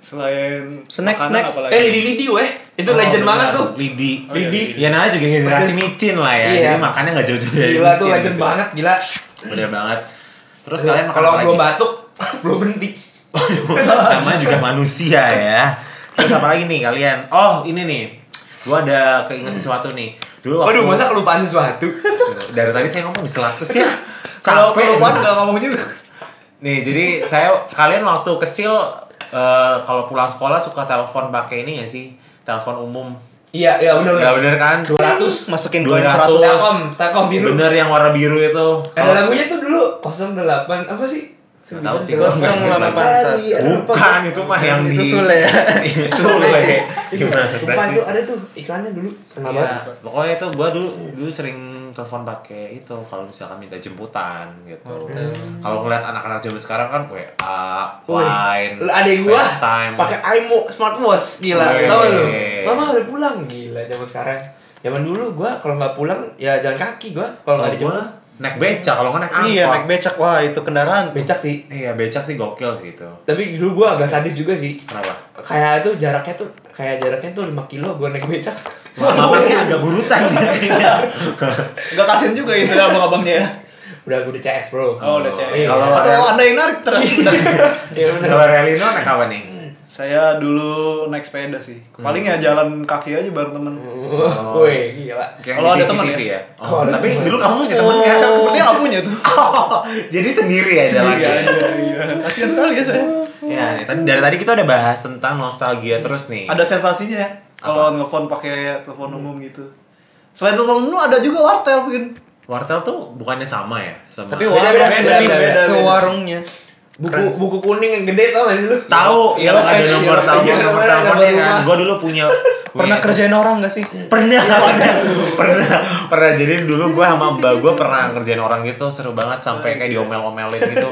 S4: Selain
S3: Snack,
S4: makanan,
S3: snack.
S4: apalagi?
S5: Eh Lidi Lidi weh. Itu
S2: Oh,
S5: legend
S2: benar.
S5: banget tuh.
S2: Lidi.
S4: Oh, iya,
S2: Lidi.
S4: Lidi.
S2: Ya nah juga generasi
S5: Pedes.
S2: micin lah ya.
S5: Iya.
S2: Jadi makannya nggak jauh-jauh dari
S5: Gila tuh
S2: micin
S5: legend
S2: gitu.
S5: banget gila.
S2: Bener banget. Terus
S5: Aduh,
S2: kalian makan
S5: kalau
S2: apa lagi?
S5: belum batuk, belum berhenti.
S2: Sama juga manusia ya. Terus apa lagi nih kalian? Oh, ini nih. Gua ada keinget sesuatu nih. Dulu waktu
S5: Waduh, masa kelupaan sesuatu?
S2: dari tadi saya ngomong di selatus ya.
S4: Kalau
S2: Capek.
S4: kelupaan enggak ngomong juga.
S2: Nih, jadi saya kalian waktu kecil eh, kalau pulang sekolah suka telepon pakai ini ya sih? Telepon umum.
S5: Iya, iya benar
S2: Enggak
S5: benar.
S2: bener kan?
S3: 200 masukin
S2: 200.
S3: 200.
S5: Telkom, Telkom biru. Eh,
S2: Bener yang warna biru itu.
S5: Ada lagunya tuh dulu 08 apa sih?
S2: Nggak tahu sih,
S5: 08.
S3: 08.
S5: Iya, lupa
S2: Bukan
S5: gua.
S2: itu mah yang
S3: Itu
S2: di
S3: Sule ya?
S2: Sule. Gimana
S5: Sumpah
S2: sih?
S5: itu ada tuh iklannya dulu pernah
S2: Iya,
S5: banget.
S2: pokoknya itu gua dulu dulu sering telepon pakai itu kalau misalkan minta jemputan gitu.
S5: Iya.
S2: Kalau ngeliat anak-anak zaman sekarang kan WA,
S5: Wih,
S2: Line,
S5: Ada yang gua
S2: FaceTime.
S5: pakai iMo smartwatch gila.
S2: Wih.
S5: Tahu lu? Mama udah pulang gila zaman sekarang. Zaman dulu gua kalau nggak pulang ya jalan kaki gua kalau nggak
S2: kalau gua
S5: dijemput
S2: naik becak, kalau nggak naik angkot.
S3: Iya, naik becak. Wah, itu kendaraan.
S5: becak sih.
S2: Iya, becak sih gokil sih itu.
S5: Tapi dulu gua agak sadis juga sih.
S2: Kenapa?
S5: Kayak itu jaraknya tuh kayak jaraknya tuh 5 kilo gua naik becak.
S2: Makannya kan agak burutan ya.
S4: Enggak kasihan juga itu ya abang-abangnya ya.
S5: Udah gua udah CS, Bro.
S4: Oh, udah cek.
S5: Iya.
S2: Kalau
S4: Atau Anda yang narik terus.
S5: Iya benar.
S2: kalau Relino naik apa nih?
S4: Saya dulu naik sepeda sih. Paling ya jalan kaki aja bareng temen.
S2: Oh.
S5: Woi, gila.
S2: Kayak
S4: Kalau ada
S2: di
S4: teman
S2: TV ya.
S5: Kalau
S2: Oh,
S5: ada
S2: tapi
S5: teman.
S2: dulu kamu punya teman
S4: Ya,
S2: nggak?
S4: saya sepertinya nggak punya tuh.
S2: Oh, jadi sendiri ya
S4: Sendiri
S2: jalannya.
S4: aja, iya. Kasihan sekali ya saya.
S2: Ya, nih, tadi- dari tadi kita udah bahas tentang nostalgia terus nih.
S4: Ada sensasinya ya kalau nelfon pakai telepon umum gitu. Selain telepon umum ada juga wartel, Vin.
S2: Wartel tuh bukannya sama ya sama.
S3: Tapi
S5: Beda,
S3: warung
S5: beda,
S3: beda,
S5: beda,
S4: beda,
S3: ke
S4: beda.
S3: warungnya.
S5: Buku buku kuning yang gede tau gak sih lu?
S2: tahu
S3: Iya,
S2: yang
S3: lo
S2: ada
S3: pensi,
S2: nomor
S3: lo
S2: telepon,
S5: pensi,
S2: nomor
S5: nomor
S2: teleponnya
S5: rumah.
S2: kan. Gua dulu punya
S3: Pernah
S2: punya-
S3: kerjain Iya, orang gak sih?
S2: pernah pernah pernah pernah jadi dulu gua sama mbak gua pernah ngerjain orang gitu seru banget sampai kayak diomel-omelin gitu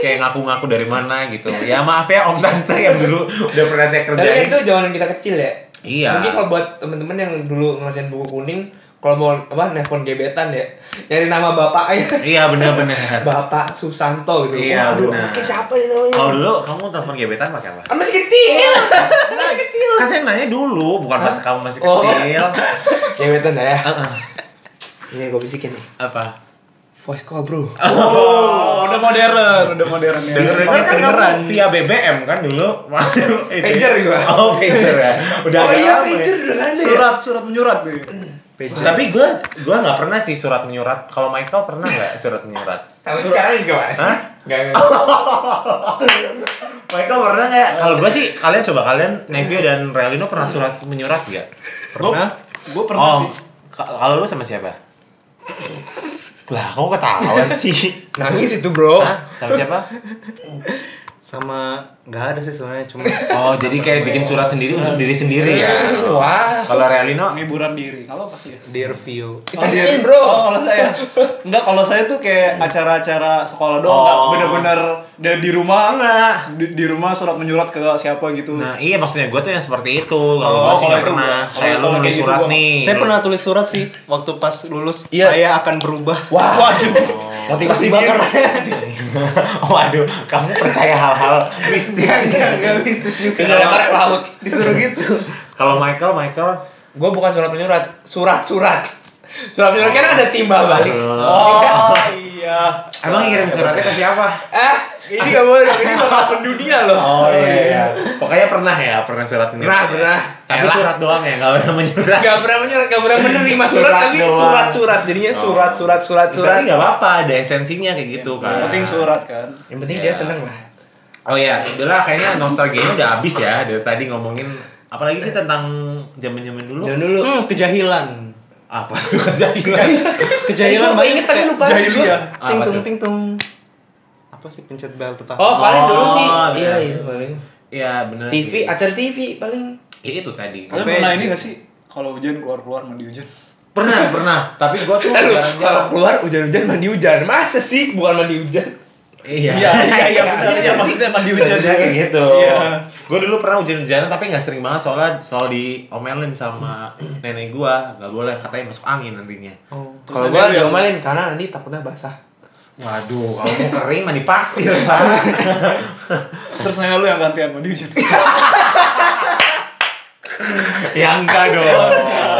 S2: kayak ngaku-ngaku dari mana gitu ya maaf ya om tante yang dulu udah pernah saya
S5: Tapi kan
S2: kerjain
S5: itu zaman kita kecil ya.
S2: Iya.
S5: Mungkin kalau buat temen-temen yang dulu ngerasain buku kuning, kalau mau apa nelpon gebetan ya, nyari nama bapaknya.
S2: Iya benar-benar.
S5: Bapak Susanto gitu.
S2: Iya,
S5: Waduh,
S2: benar.
S5: anaknya siapa ini namanya?
S2: Kalau dulu kamu telepon gebetan pakai apa?
S5: Kan masih kecil. Masih
S3: Iya.
S5: kecil.
S2: Kan saya nanya dulu, bukan pas kamu masih
S5: Oh.
S2: kecil.
S5: Gebetan ya.
S2: Heeh.
S5: Ini gue bisikin nih.
S2: Apa?
S5: Voice call, Bro.
S4: Oh, udah modern, udah modern ya.
S2: Dengernya
S4: Smart
S2: kan
S4: beneran.
S2: kamu via BBM kan dulu. Waduh, itu ya.
S5: Pager gua.
S2: Oh, pager ya. Udah
S5: oh
S2: agak
S5: iya,
S2: lama ya.
S5: pager udah ada ya.
S4: Surat, surat menyurat tuh.
S5: Pager.
S2: Tapi gue gue nggak pernah sih surat menyurat. Kalau Michael pernah nggak surat menyurat?
S5: Tapi sekarang juga masih.
S2: Hah?
S5: Enggak,
S2: Michael pernah nggak? Kalau gue sih kalian coba kalian Nevio dan Relino pernah surat menyurat nggak?
S3: Pernah?
S4: Gue pernah
S2: oh,
S4: sih.
S2: ka- kalau lu sama siapa? Lah, kamu ketawa sih.
S5: Nangis itu, Bro.
S2: Hah? Sama siapa?
S3: Sama nggak ada sih sebenarnya cuma
S2: Oh, jadi kayak bikin surat sendiri untuk diri sendiri ya.
S5: Iya. Wah.
S2: Kalau Relino
S4: Penghiburan diri. Kalau apa ya?
S3: Dear Vio.
S5: Ditanyain, bro.
S4: Oh, kalau saya. Enggak, kalau saya tuh kayak acara-acara sekolah doang,
S2: Oh.
S4: enggak bener-bener dari di rumah
S2: Enggak.
S4: Di, di rumah surat menyurat ke siapa gitu.
S2: Nah iya maksudnya gue tuh yang seperti itu Kalau
S4: Oh,
S2: gue sih
S4: kalau
S2: nggak
S4: itu
S2: pernah
S4: gua-
S2: Kayak
S4: kalau-
S2: lu
S4: kalau
S2: nulis
S4: kayak gitu
S2: surat
S4: gua-
S2: nih
S3: Saya
S2: Lu-
S3: pernah tulis surat sih waktu pas lulus
S5: Iya.
S3: saya akan berubah.
S4: Wah, waduh.
S5: Motivasi
S4: Pasti
S5: bakar.
S2: Waduh kamu percaya hal-hal mistis
S3: Enggak bisnis juga.
S5: Enggak ada karet laut.
S3: Disuruh gitu.
S2: Kalau Michael, Michael
S5: Gue bukan surat menyurat, surat-surat. Surat menyurat kan ada timbal balik.
S4: Oh, iya.
S2: Emang ngirim suratnya ke siapa?
S5: Ah, ini gak boleh dong, ini melawan dunia loh.
S4: Oh,
S2: Oh,
S4: iya,
S2: iya. Pokoknya pernah ya, pernah surat menyurat
S5: Pernah,
S2: ya?
S5: pernah.
S2: Tapi
S5: Elah.
S2: surat doang ya, nggak pernah menyurat
S5: Gak pernah menyurat, gak pernah menerima surat,
S2: Surat
S5: tapi
S2: doang.
S5: surat-surat. Jadinya
S2: Oh.
S5: surat-surat, surat-surat.
S2: Tapi nggak apa-apa, ada esensinya kayak gitu
S4: Yang
S2: kan
S4: Iya, penting surat kan.
S5: Yang penting dia seneng lah.
S2: Oh iya, udahlah kayaknya nostalgianya udah habis ya Dari tadi ngomongin Apalagi sih tentang zaman-zaman dulu
S4: Iya.
S5: Jangan dulu.
S3: Hmm, kejahilan.
S2: Apa? Kejahilan
S5: Eh,
S3: Kejahilan
S5: gua
S3: banyak
S5: inget tapi
S3: kayak
S5: lupa.
S3: Jahiliyah.
S2: Ah, Apa
S3: Ting tung
S2: tuh?
S3: ting tung. Apa sih pencet bel tetangga?
S5: Oh, paling dulu
S2: Oh,
S5: sih.
S2: iya.
S5: Iya, iya, paling.
S2: Ya bener
S5: TV,
S2: sih.
S5: acara TV paling.
S2: Ya itu tadi
S4: Kalian
S3: Apa
S4: pernah
S3: ya?
S4: ini gak sih? Kalau hujan keluar-keluar mandi hujan.
S2: Pernah, pernah. Tapi gua tuh
S5: Ntar lu, kalau
S2: jarang-jarang.
S5: keluar hujan-hujan mandi hujan. Masa sih bukan mandi hujan?
S2: Iya.
S4: benar. Iya, maksudnya mandi
S2: Hujan
S4: hujan.
S2: kayak gitu.
S4: Iya.
S2: Gua dulu pernah hujan-hujanan tapi nggak sering banget soalnya selalu diomelin sama nenek gua, nggak boleh katanya masuk angin nantinya.
S3: Oh.
S4: Terus
S5: Kalau
S4: ada
S5: gua
S4: yang-
S5: diomelin karena nanti takutnya basah.
S2: Waduh, kalau mau kering mandi pasir, Pak.
S4: Terus nanya lu yang gantian mandi hujan.
S2: ya enggak dong.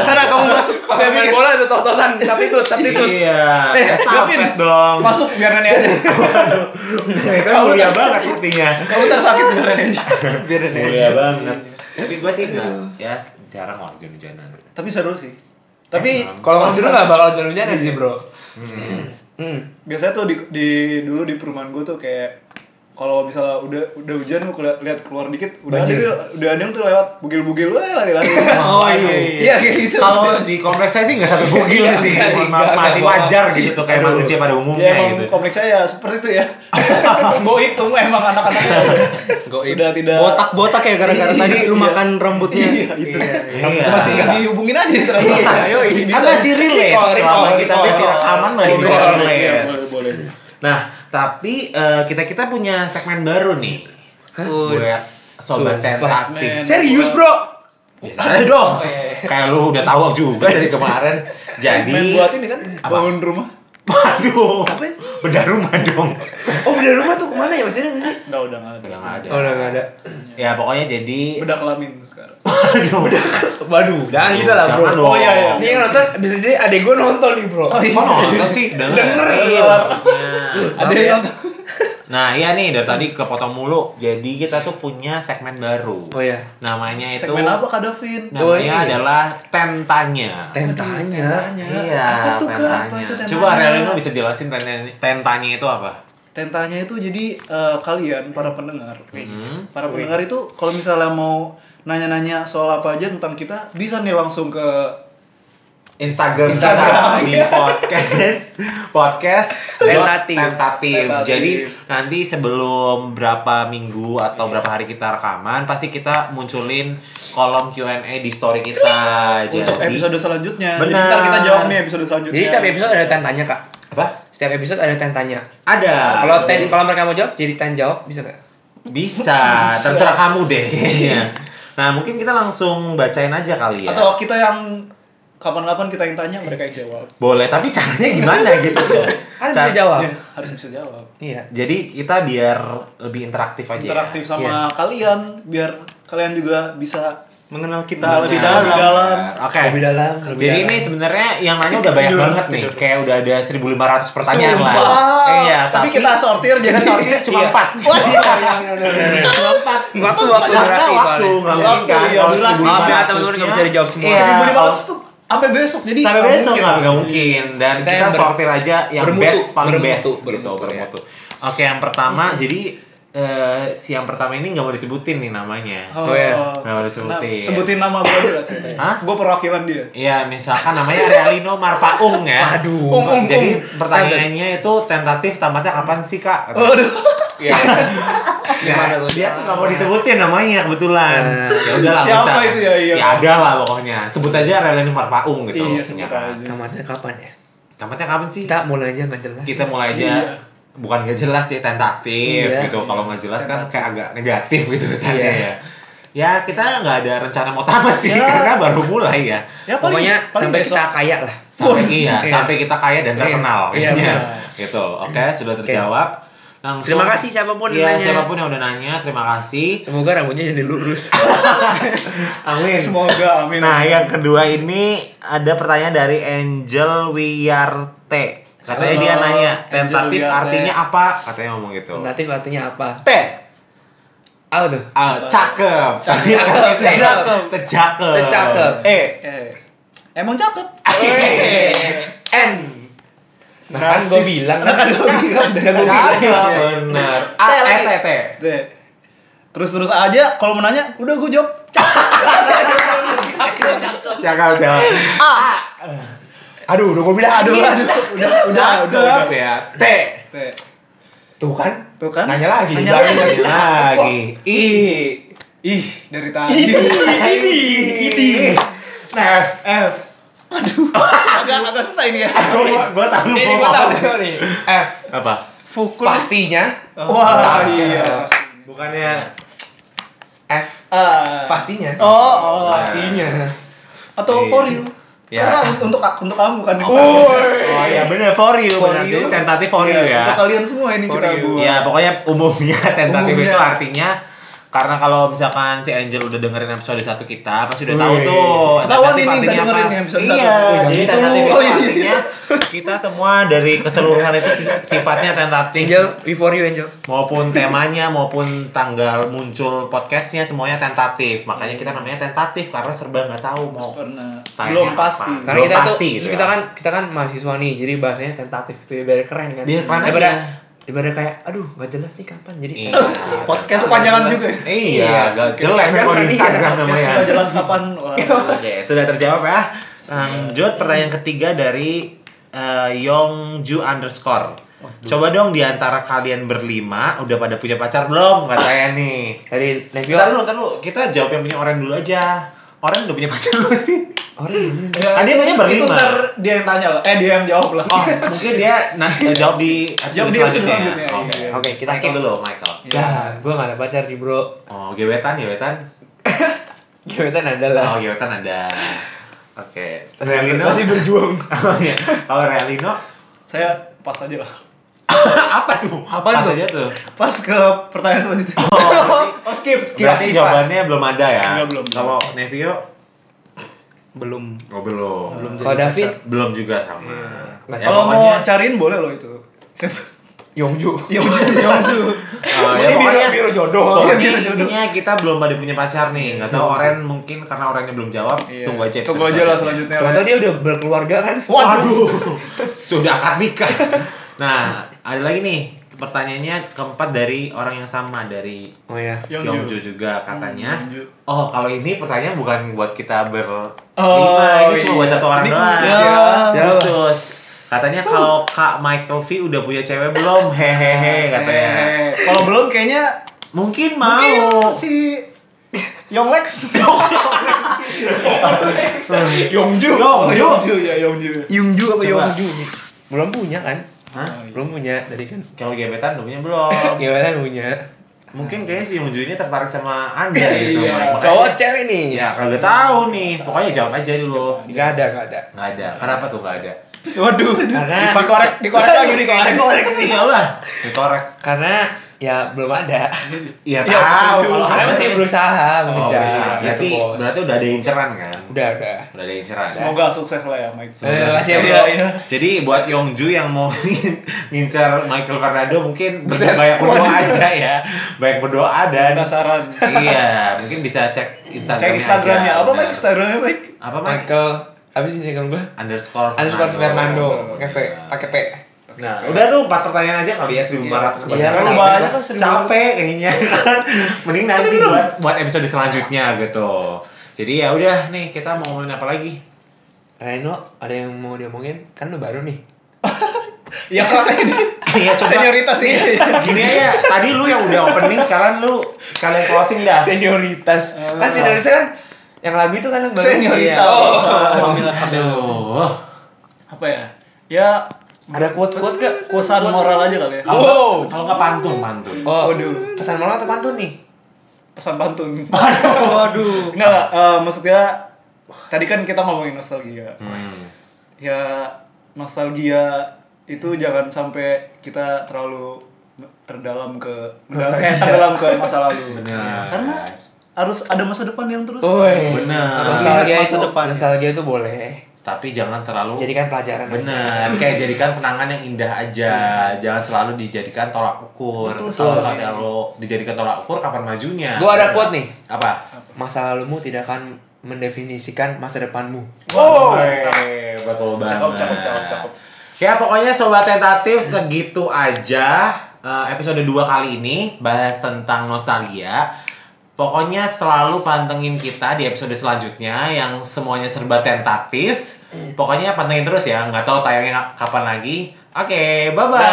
S3: Sana kamu masuk.
S5: Saya main bola itu tos-tosan, substitute, substitute.
S2: Iya,
S4: Eh,
S2: sapet
S4: Gavin.
S2: dong.
S4: Masuk biar nenek aja.
S2: Saya mulia banget intinya.
S4: Kamu ntar sakit biar nenek aja.
S3: Biarin aja.
S2: Mulia banget. Tapi gua sih enggak, ya jarang lah hujan-hujanan.
S4: Tapi seru sih. Tapi
S5: Kalau masih lu nggak bakal hujan-hujanan sih bro. Hmm.
S4: biasanya tuh di, di- dulu di perumahan gue tuh kayak kalau misalnya udah udah hujan lu keli- lihat keluar dikit udah ada
S5: Banjir.
S4: tuh- udah ada yang tuh lewat bugil-bugil wah lari-lari
S2: Oh, iya, iya.
S4: iya kayak gitu
S2: Kalau di kompleks saya sih nggak sampai bugil
S5: Iya,
S2: sih,
S5: enggak,
S2: Mohon
S5: enggak,
S2: maaf, masih
S5: enggak.
S2: wajar gitu tuh kayak
S5: Aduh.
S2: manusia pada
S4: ya
S2: umumnya
S4: emang
S2: gitu.
S4: kompleks saya seperti itu ya goib kamu emang anak-anaknya sudah tidak
S3: Botak-botak ya gara-gara
S4: Iya,
S3: tadi lu
S4: iya.
S3: makan rambutnya.
S4: iya itu
S2: Iya.
S4: masih Iya, dihubungin aja gitu. ternyata
S3: Ayo,
S4: Masih bisa.
S2: Agak sih relate
S5: Recall,
S2: selama
S5: recall,
S2: kita
S5: recall.
S2: masih rekaman masih bisa
S4: Boleh, iya,
S2: relate.
S4: boleh boleh
S2: Nah, tapi kita kita punya segmen baru nih. Buat sobat
S5: Sobat
S2: tentatif.
S4: Segmen.
S5: Serius bro?
S2: Biasanya dong.
S5: Oh, iya, iya.
S2: Kayak lu udah tahu juga dari kemarin. Jadi
S4: main buat ini kan
S2: Apa?
S4: bangun rumah
S2: Waduh. Bedah rumah dong.
S5: Oh beda rumah tuh kemana ya maksudnya nggak sih?
S4: nggak udah nggak ada
S2: Udah nggak ada.
S5: Oh udah nggak ada.
S2: Ya pokoknya jadi
S4: udah kelamin sekarang
S2: Waduh.
S5: Waduh, jangan gitu lah
S2: Jangan
S5: bro.
S2: dong.
S4: Oh, iya, iya.
S5: Ini yang nonton bisa jadi adek gua nonton nih bro.
S4: Oh, iya.
S2: Kok nonton sih? Denger.
S5: Denger.
S2: Iya, ya, maksudnya.
S4: ada yang nonton
S2: Nah iya nih dari tadi kepotong mulu Jadi kita tuh punya segmen baru
S5: Oh iya.
S2: Namanya itu
S4: segmen apa kak Davin
S2: Namanya
S5: Oh, iya.
S2: adalah Tentanya
S5: Tentanya.
S2: Iya
S4: Apa tuh, Kak?
S2: tentanya.
S4: Apa itu tentanya?
S2: Coba Relino bisa jelasin tentanya, tentanya itu apa?
S4: Tentanya itu jadi eh, kalian para pendengar,
S2: Hmm.
S4: para pendengar itu kalau misalnya mau nanya-nanya soal apa aja tentang kita bisa nih langsung ke
S2: Instagram,
S4: Instagram.
S2: kita di podcast podcast
S5: Tentatif.
S2: tentatif.
S4: Tentatif.
S2: Jadi nanti sebelum berapa minggu atau berapa hari kita rekaman pasti kita munculin kolom Q&A di story kita.
S4: untuk
S2: Jadi-
S4: episode selanjutnya.
S2: Benar.
S4: Jadi ntar kita jawab nih episode selanjutnya.
S5: Jadi setiap episode ada tentanya kak.
S2: apa?
S5: Setiap episode ada tentanya.
S2: Ada.
S5: Kalau ten, kalau mereka mau jawab, jadi ten jawab bisa nggak?
S2: bisa, terserah kamu deh kayaknya. Nah, mungkin kita langsung bacain aja kali ya.
S4: Iya. Atau kita yang kapan-kapan kita yang tanya mereka yang jawab.
S2: Boleh, tapi caranya gimana gitu.
S5: Kan
S2: Car-
S5: bisa jawab.
S4: Ya, harus bisa jawab.
S5: Iya.
S2: Jadi kita biar lebih interaktif aja. ya.
S4: Interaktif sama kalian biar kalian juga bisa
S3: Mengenal kita
S4: Nah,
S2: Iya.
S3: lebih
S4: nah.
S3: dalam.
S4: Lebih dalam.
S2: Oke.
S5: Lebih dalam. lebih
S2: Jadi
S5: dalam.
S2: ini sebenarnya yang nanya udah banyak
S4: Tidur,
S2: banget nih.
S4: tidur.
S2: Kayak udah ada 1500 pertanyaan lah.
S4: Sumpah.
S2: Iya,
S4: tapi, kita sortir jadi
S2: kita sortir cuma Iya,
S5: Iya.
S2: 4.
S5: Cuma empat. Waktu waktu durasi
S2: waktu
S5: soalnya.
S4: Iya.
S2: nggak mungkin kan.
S4: Iya,
S2: Kalau
S4: durasi.
S2: 1500
S5: Maaf ya teman-teman nggak bisa dijawab semua.
S2: Iya.
S4: 1500 tuh sampai besok. Jadi
S2: sampai
S4: nggak
S2: besok
S4: mungkin.
S2: nggak nggak mungkin dan
S5: Kita
S2: kita,
S5: yang ber-
S2: sortir aja yang
S5: bermutu,
S2: best paling
S5: bermutu,
S2: best gitu
S5: bermutu, ya.
S2: bermutu. Oke yang pertama jadi eh, si yang pertama ini nggak mau disebutin nih namanya.
S5: Oh, iya.
S2: Nggak boleh sebutin.
S4: Nah, sebutin nama gue aja lah ceritanya.
S2: Hah?
S4: Gue perwakilan dia.
S2: Iya misalkan namanya Realino Marpaung ya.
S5: Aduh.
S4: Ung, ung,
S2: Jadi
S4: ung.
S2: pertanyaannya itu tentatif tamatnya kapan sih kak?
S4: Waduh.
S5: Iya.
S3: Gimana tuh?
S2: Dia tuh nggak mau disebutin namanya kebetulan.
S5: Eh.
S2: Ya udahlah. nggak
S4: Siapa
S2: usah.
S4: itu ya? Iya.
S2: Ya ada lah pokoknya. Sebut aja Realino Marpaung gitu.
S4: Iya,
S2: maksudnya
S4: sebut
S2: kan.
S4: aja.
S5: Tamatnya kapan ya?
S2: Tamatnya kapan sih?
S5: Kita mulai aja nggak jelas.
S2: kita mulai aja
S4: Iya.
S2: bukan nggak jelas sih tentatif
S5: Iya.
S2: gitu kalau nggak jelas kan kayak agak negatif gitu misalnya ya ya kita nggak ada rencana mau tamat sih
S4: Ya.
S2: karena baru mulai ya
S4: Ya paling-
S5: Pokoknya
S4: paling
S5: sampai
S4: besok.
S5: kita kaya lah.
S2: sampai iya
S5: Iya.
S2: sampai kita kaya dan
S5: Iya.
S2: terkenal
S5: Iya,
S2: intinya.
S4: benar.
S2: gitu oke sudah terjawab langsung
S5: Terima kasih siapapun yang
S2: ya,
S5: nanya.
S2: siapapun yang udah nanya terima kasih
S5: Semoga rambutnya jadi lurus.
S2: amin
S4: Semoga amin.
S2: nah yang kedua ini ada pertanyaan dari Angel Wiyarte katanya
S4: Halo,
S2: dia nanya
S4: Angel
S2: tentatif
S4: Wiyarte.
S2: artinya apa katanya ngomong gitu
S5: Natif artinya apa?
S4: Teh.
S5: Apa tuh?
S2: Ah, cakep.
S5: Cakep.
S4: Cakep.
S2: Cakep. E.
S5: Cakep.
S4: Eh. Emang cakep.
S2: N.
S5: Nah, kan gue
S4: Narsis.
S5: bilang
S4: Nah, kan gua bilang.
S5: Kan gua
S2: Cakep.
S5: bilang.
S2: Bener. A
S4: T
S2: S
S4: lagi.
S2: T T.
S4: Teh. Terus-terus aja kalau mau nanya, udah gue jawab.
S2: Cakep cakep. A. Aduh, udah gue bilang
S4: Ah. Aduh, aduh. Udah, udah, udah.
S2: Cakep ya. T.
S4: Teh.
S5: Tuh kan?
S4: Tuh kan?
S5: Nanya lagi.
S4: Nanya
S5: Bang.
S4: lagi.
S2: Lagi, Lagi. I.
S4: Ih. Ih, dari tadi.
S2: Ini. Ini. Nah, F. F.
S4: agak agak susah ini ya.
S2: Gue gue tahu.
S5: Ini
S2: mau
S5: gue tahu
S2: ngomong.
S5: nih. F.
S2: Apa?
S4: Fukul.
S5: Pastinya
S2: Oh,
S4: Wah,
S5: Cakep.
S4: iya. pasti.
S2: Bukannya
S5: F.
S4: Ah.
S5: Pastinya.
S4: Oh, oh.
S5: Pastinya.
S4: Atau
S2: Iya.
S4: for you.
S2: Ya.
S4: Karena untuk untuk kamu kan.
S2: Oh iya bener for you
S4: For
S2: bener.
S4: you. Iya,
S2: Jadi tentatif for you ya.
S4: Untuk kalian semua ini
S2: For
S4: kita
S2: you.
S4: buat.
S2: Ya pokoknya umumnya tentatif
S4: Umumnya.
S2: itu artinya karena kalau misalkan si Angel udah dengerin episode satu kita pasti udah tahu
S5: Wih.
S2: tuh.
S4: Ketahuan
S2: tentatif
S4: ini nggak
S2: artinya
S4: dengerin
S2: apa.
S4: nih episode
S2: Iya,
S4: satu. Oh,
S2: jadi
S4: gitu.
S2: tentatif itu
S4: Oh, iya.
S2: artinya kita semua dari keseluruhan itu si- sifatnya tentatif
S4: Iya.
S5: Angel, before you Angel.
S2: maupun temanya maupun tanggal muncul podcastnya semuanya tentatif makanya kita namanya tentatif karena serba nggak tahu mau
S4: Pernah.
S2: Tanya
S4: Belum
S2: apa?
S4: pasti.
S2: Belum
S5: Karena kita tuh
S2: pasti gitu
S5: kita
S2: ya.
S5: kan kita kan mahasiswa nih, jadi bahasanya tentatif gitu ya biar keren kan.
S2: Biar keren
S5: daripada
S2: aja.
S5: daripada kayak aduh gak jelas nih kapan. Jadi
S2: Iya.
S4: Podcast
S5: Kepanjangan
S4: jelas.
S5: juga.
S2: Iya, gak jelek
S5: Kan
S2: kalau di
S5: iya.
S2: Instagram
S4: Podcast
S2: namanya. Iya.
S4: nggak Ya, jelas kapan. Wah.
S2: Oke, sudah terjawab ya. Lanjut pertanyaan ketiga dari eh, Yongju underscore. Coba dong di antara kalian berlima udah pada punya pacar belum katanya nih.
S5: Dari Nevio.
S2: Bentar dulu, bentar dulu. Kita jawab yang punya orang dulu aja. Orang udah punya pacar belum sih?
S5: "Oh, Orang
S4: Ya,
S2: Tadi
S4: itu-
S2: nanya berlima.
S4: Itu ntar dia yang tanya lah. Eh dia yang jawab lah.
S2: Oh, mungkin dia nanti jawab di
S4: Jawab
S2: episode
S4: di episode
S2: selanjutnya.
S4: selanjutnya,
S2: Oke,
S4: iya.
S2: oke. Kita kick dulu, Michael.
S5: Ya, gue gak ada pacar nih bro
S2: Oh, gebetan, gebetan.
S5: Gebetan ada lah
S2: Oh, iya. gebetan ada. Oke.
S5: Masih-
S2: Realino.
S5: masih berjuang.
S2: Oh, iya. Kalau Realino,
S4: Saya pas aja lah.
S2: apa tuh? Apa
S4: Apaan tuh?
S2: tuh? aja tuh.
S4: Pas ke pertanyaan selanjutnya.
S5: Oh skip,
S2: Berarti jawabannya belum ada ya?
S4: Enggak, belum.
S2: Kalau Nevio?
S3: Belum.
S2: Oh, belum. Belum,
S5: Kalau David,
S2: juga sama.
S4: Iya.
S5: Nah,
S2: Ya,
S4: Kalau
S2: pokoknya-
S4: mau cariin boleh loh itu. Siapa?
S5: Yongju
S4: Yongju, Yongju.
S2: Oh, ya, pokoknya
S5: biru jodoh
S2: pokoknya
S4: biar jodoh.
S2: intinya kita belum ada punya pacar nih. Enggak tahu Oren mungkin karena Orennya belum jawab,
S4: Iya.
S2: tunggu aja.
S4: Tunggu
S2: episode
S4: aja lah selanjutnya.
S5: Siapa tau dia udah berkeluarga kan
S2: Waduh. Sudah akad nikah. Nah, ada lagi nih pertanyaannya keempat dari orang yang sama dari
S5: Oh iya
S4: Yongju.
S2: Yongju juga
S4: Hmm,
S2: katanya.
S4: Yongju.
S2: Oh, kalau ini pertanyaan bukan buat kita berlima,
S4: Oh,
S2: ini cuma
S4: iya.
S2: buat satu orang
S4: Ini
S2: doang.
S4: khusus ya.
S5: Siapa?
S2: Khusus. Katanya kalau Kak Michael V udah punya cewek belum? Hehehe katanya.
S4: Eh, Kalau belum kayaknya
S2: Mungkin mau.
S4: mungkin si Yonglex.
S5: Yongju
S4: Oh, Yongju ya Yongju.
S5: Yongju apa
S2: Coba.
S5: Yongju? Belum punya kan?
S2: Hah?
S5: Belum punya tadi kan
S2: Kalau gebetan udah punya belum?
S5: Gimana punya
S2: Mungkin kayaknya si Yongju ini tertarik sama Anda gitu.
S4: Iya.
S2: Makanya-
S5: Cowok cewek nih.
S2: Ya kagak tahu nih. Pokoknya jawab aja dulu.
S5: Enggak ada, enggak ada.
S2: Nggak ada. Kenapa tuh nggak ada?
S4: Waduh.
S5: Karena
S4: Dikorek, dikorek lagi nih kayaknya.
S2: Dikorek iyalah. Dikorek.
S5: karena ya belum ada.
S2: Iya
S4: Iya,
S2: tahu
S4: betul.
S2: kalau
S5: Karena
S2: ada
S5: masih berusaha
S2: Oh,
S5: mengejar.
S2: bisa.
S5: gitu,
S2: berarti
S5: bos.
S2: berarti udah ada inceran kan?
S5: udah udah.
S2: Udah ada inceran.
S4: Semoga sukses lah ya Mike.
S5: Eh, makasih ya,
S4: Iya,
S5: Bro.
S4: iya.
S2: Jadi buat Yongju yang mau ngincar Michael Fernando mungkin
S5: Buset.
S2: banyak berdoa aja ya. Banyak berdoa dan
S4: Penasaran.
S2: iya, mungkin bisa cek Instagram.
S4: Cek Instagramnya apa Mike? Instagramnya Mike.
S2: Apa Mike?
S5: Michael habis ini kan gua.
S2: Underscore
S5: Underscore Fernando, pakai V,
S2: Nah.
S5: pakai P.
S2: Nah, udah tuh empat pertanyaan aja kali ya 1400 kebanyakan.
S5: Iya, terlalu
S4: banyak kan, 1500.
S2: Capek kayaknya kan. Mending nanti buat buat episode selanjutnya gitu. Jadi ya udah nih kita mau ngomongin apa lagi?
S5: Reno, ada yang mau diomongin? Kan lu baru nih.
S4: Ya kak ini
S2: Iya coba
S4: senioritas nih.
S2: gini aja. Tadi lu yang udah opening sekarang lu sekalian closing dah.
S5: Senioritas.
S4: Ah.
S5: Kan senioritas kan yang lagu itu kan yang baru.
S4: Senioritas.
S5: Iya.
S4: Oh.
S2: Alhamdulillah. Aduh.
S4: Apa ya? Ya
S5: Ada quote-quote gak?
S4: kuasaan moral aja kali ya.
S2: Kalau
S5: Wow.
S2: kalau nggak pantun pantun.
S5: Oh,
S4: Waduh.
S5: pesan moral atau pantun nih?
S4: Pesan pantun. Waduh. Enggak, eh, maksudnya tadi kan kita ngomongin nostalgia.
S2: Hmm.
S4: ya nostalgia itu jangan sampai kita terlalu terdalam ke mendalam, eh, terdalam ke masa lalu
S2: Benar.
S4: karena harus ada masa depan yang terus
S5: Woi,
S2: Benar.
S5: Nostalgia
S3: Masa
S5: itu,
S3: depan.
S5: nostalgia itu boleh.
S2: Tapi jangan terlalu
S5: Jadikan pelajaran.
S2: Bener, kayak jadikan kenangan yang indah aja. Jangan selalu dijadikan tolak ukur.
S4: Betul
S2: Kalau
S4: sekali.
S2: kalau dijadikan tolak ukur kapan majunya?
S5: Gua ada quote nih.
S2: Apa?
S5: Masa lalumu tidak akan mendefinisikan masa depanmu.
S4: Wow.
S2: Woi, betul banget.
S4: Cakep, cakep, cakep, cakep.
S2: Ya pokoknya sobat tentatif segitu aja eh, episode 2 kali ini bahas tentang nostalgia. Pokoknya selalu pantengin kita di episode selanjutnya yang semuanya serba tentatif. Pokoknya pantengin terus ya, nggak tahu tayangnya kapan lagi. Oke, bye-bye.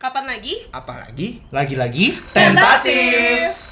S1: Kapan lagi?
S5: Apalagi
S3: Lagi-lagi
S1: Tentatif.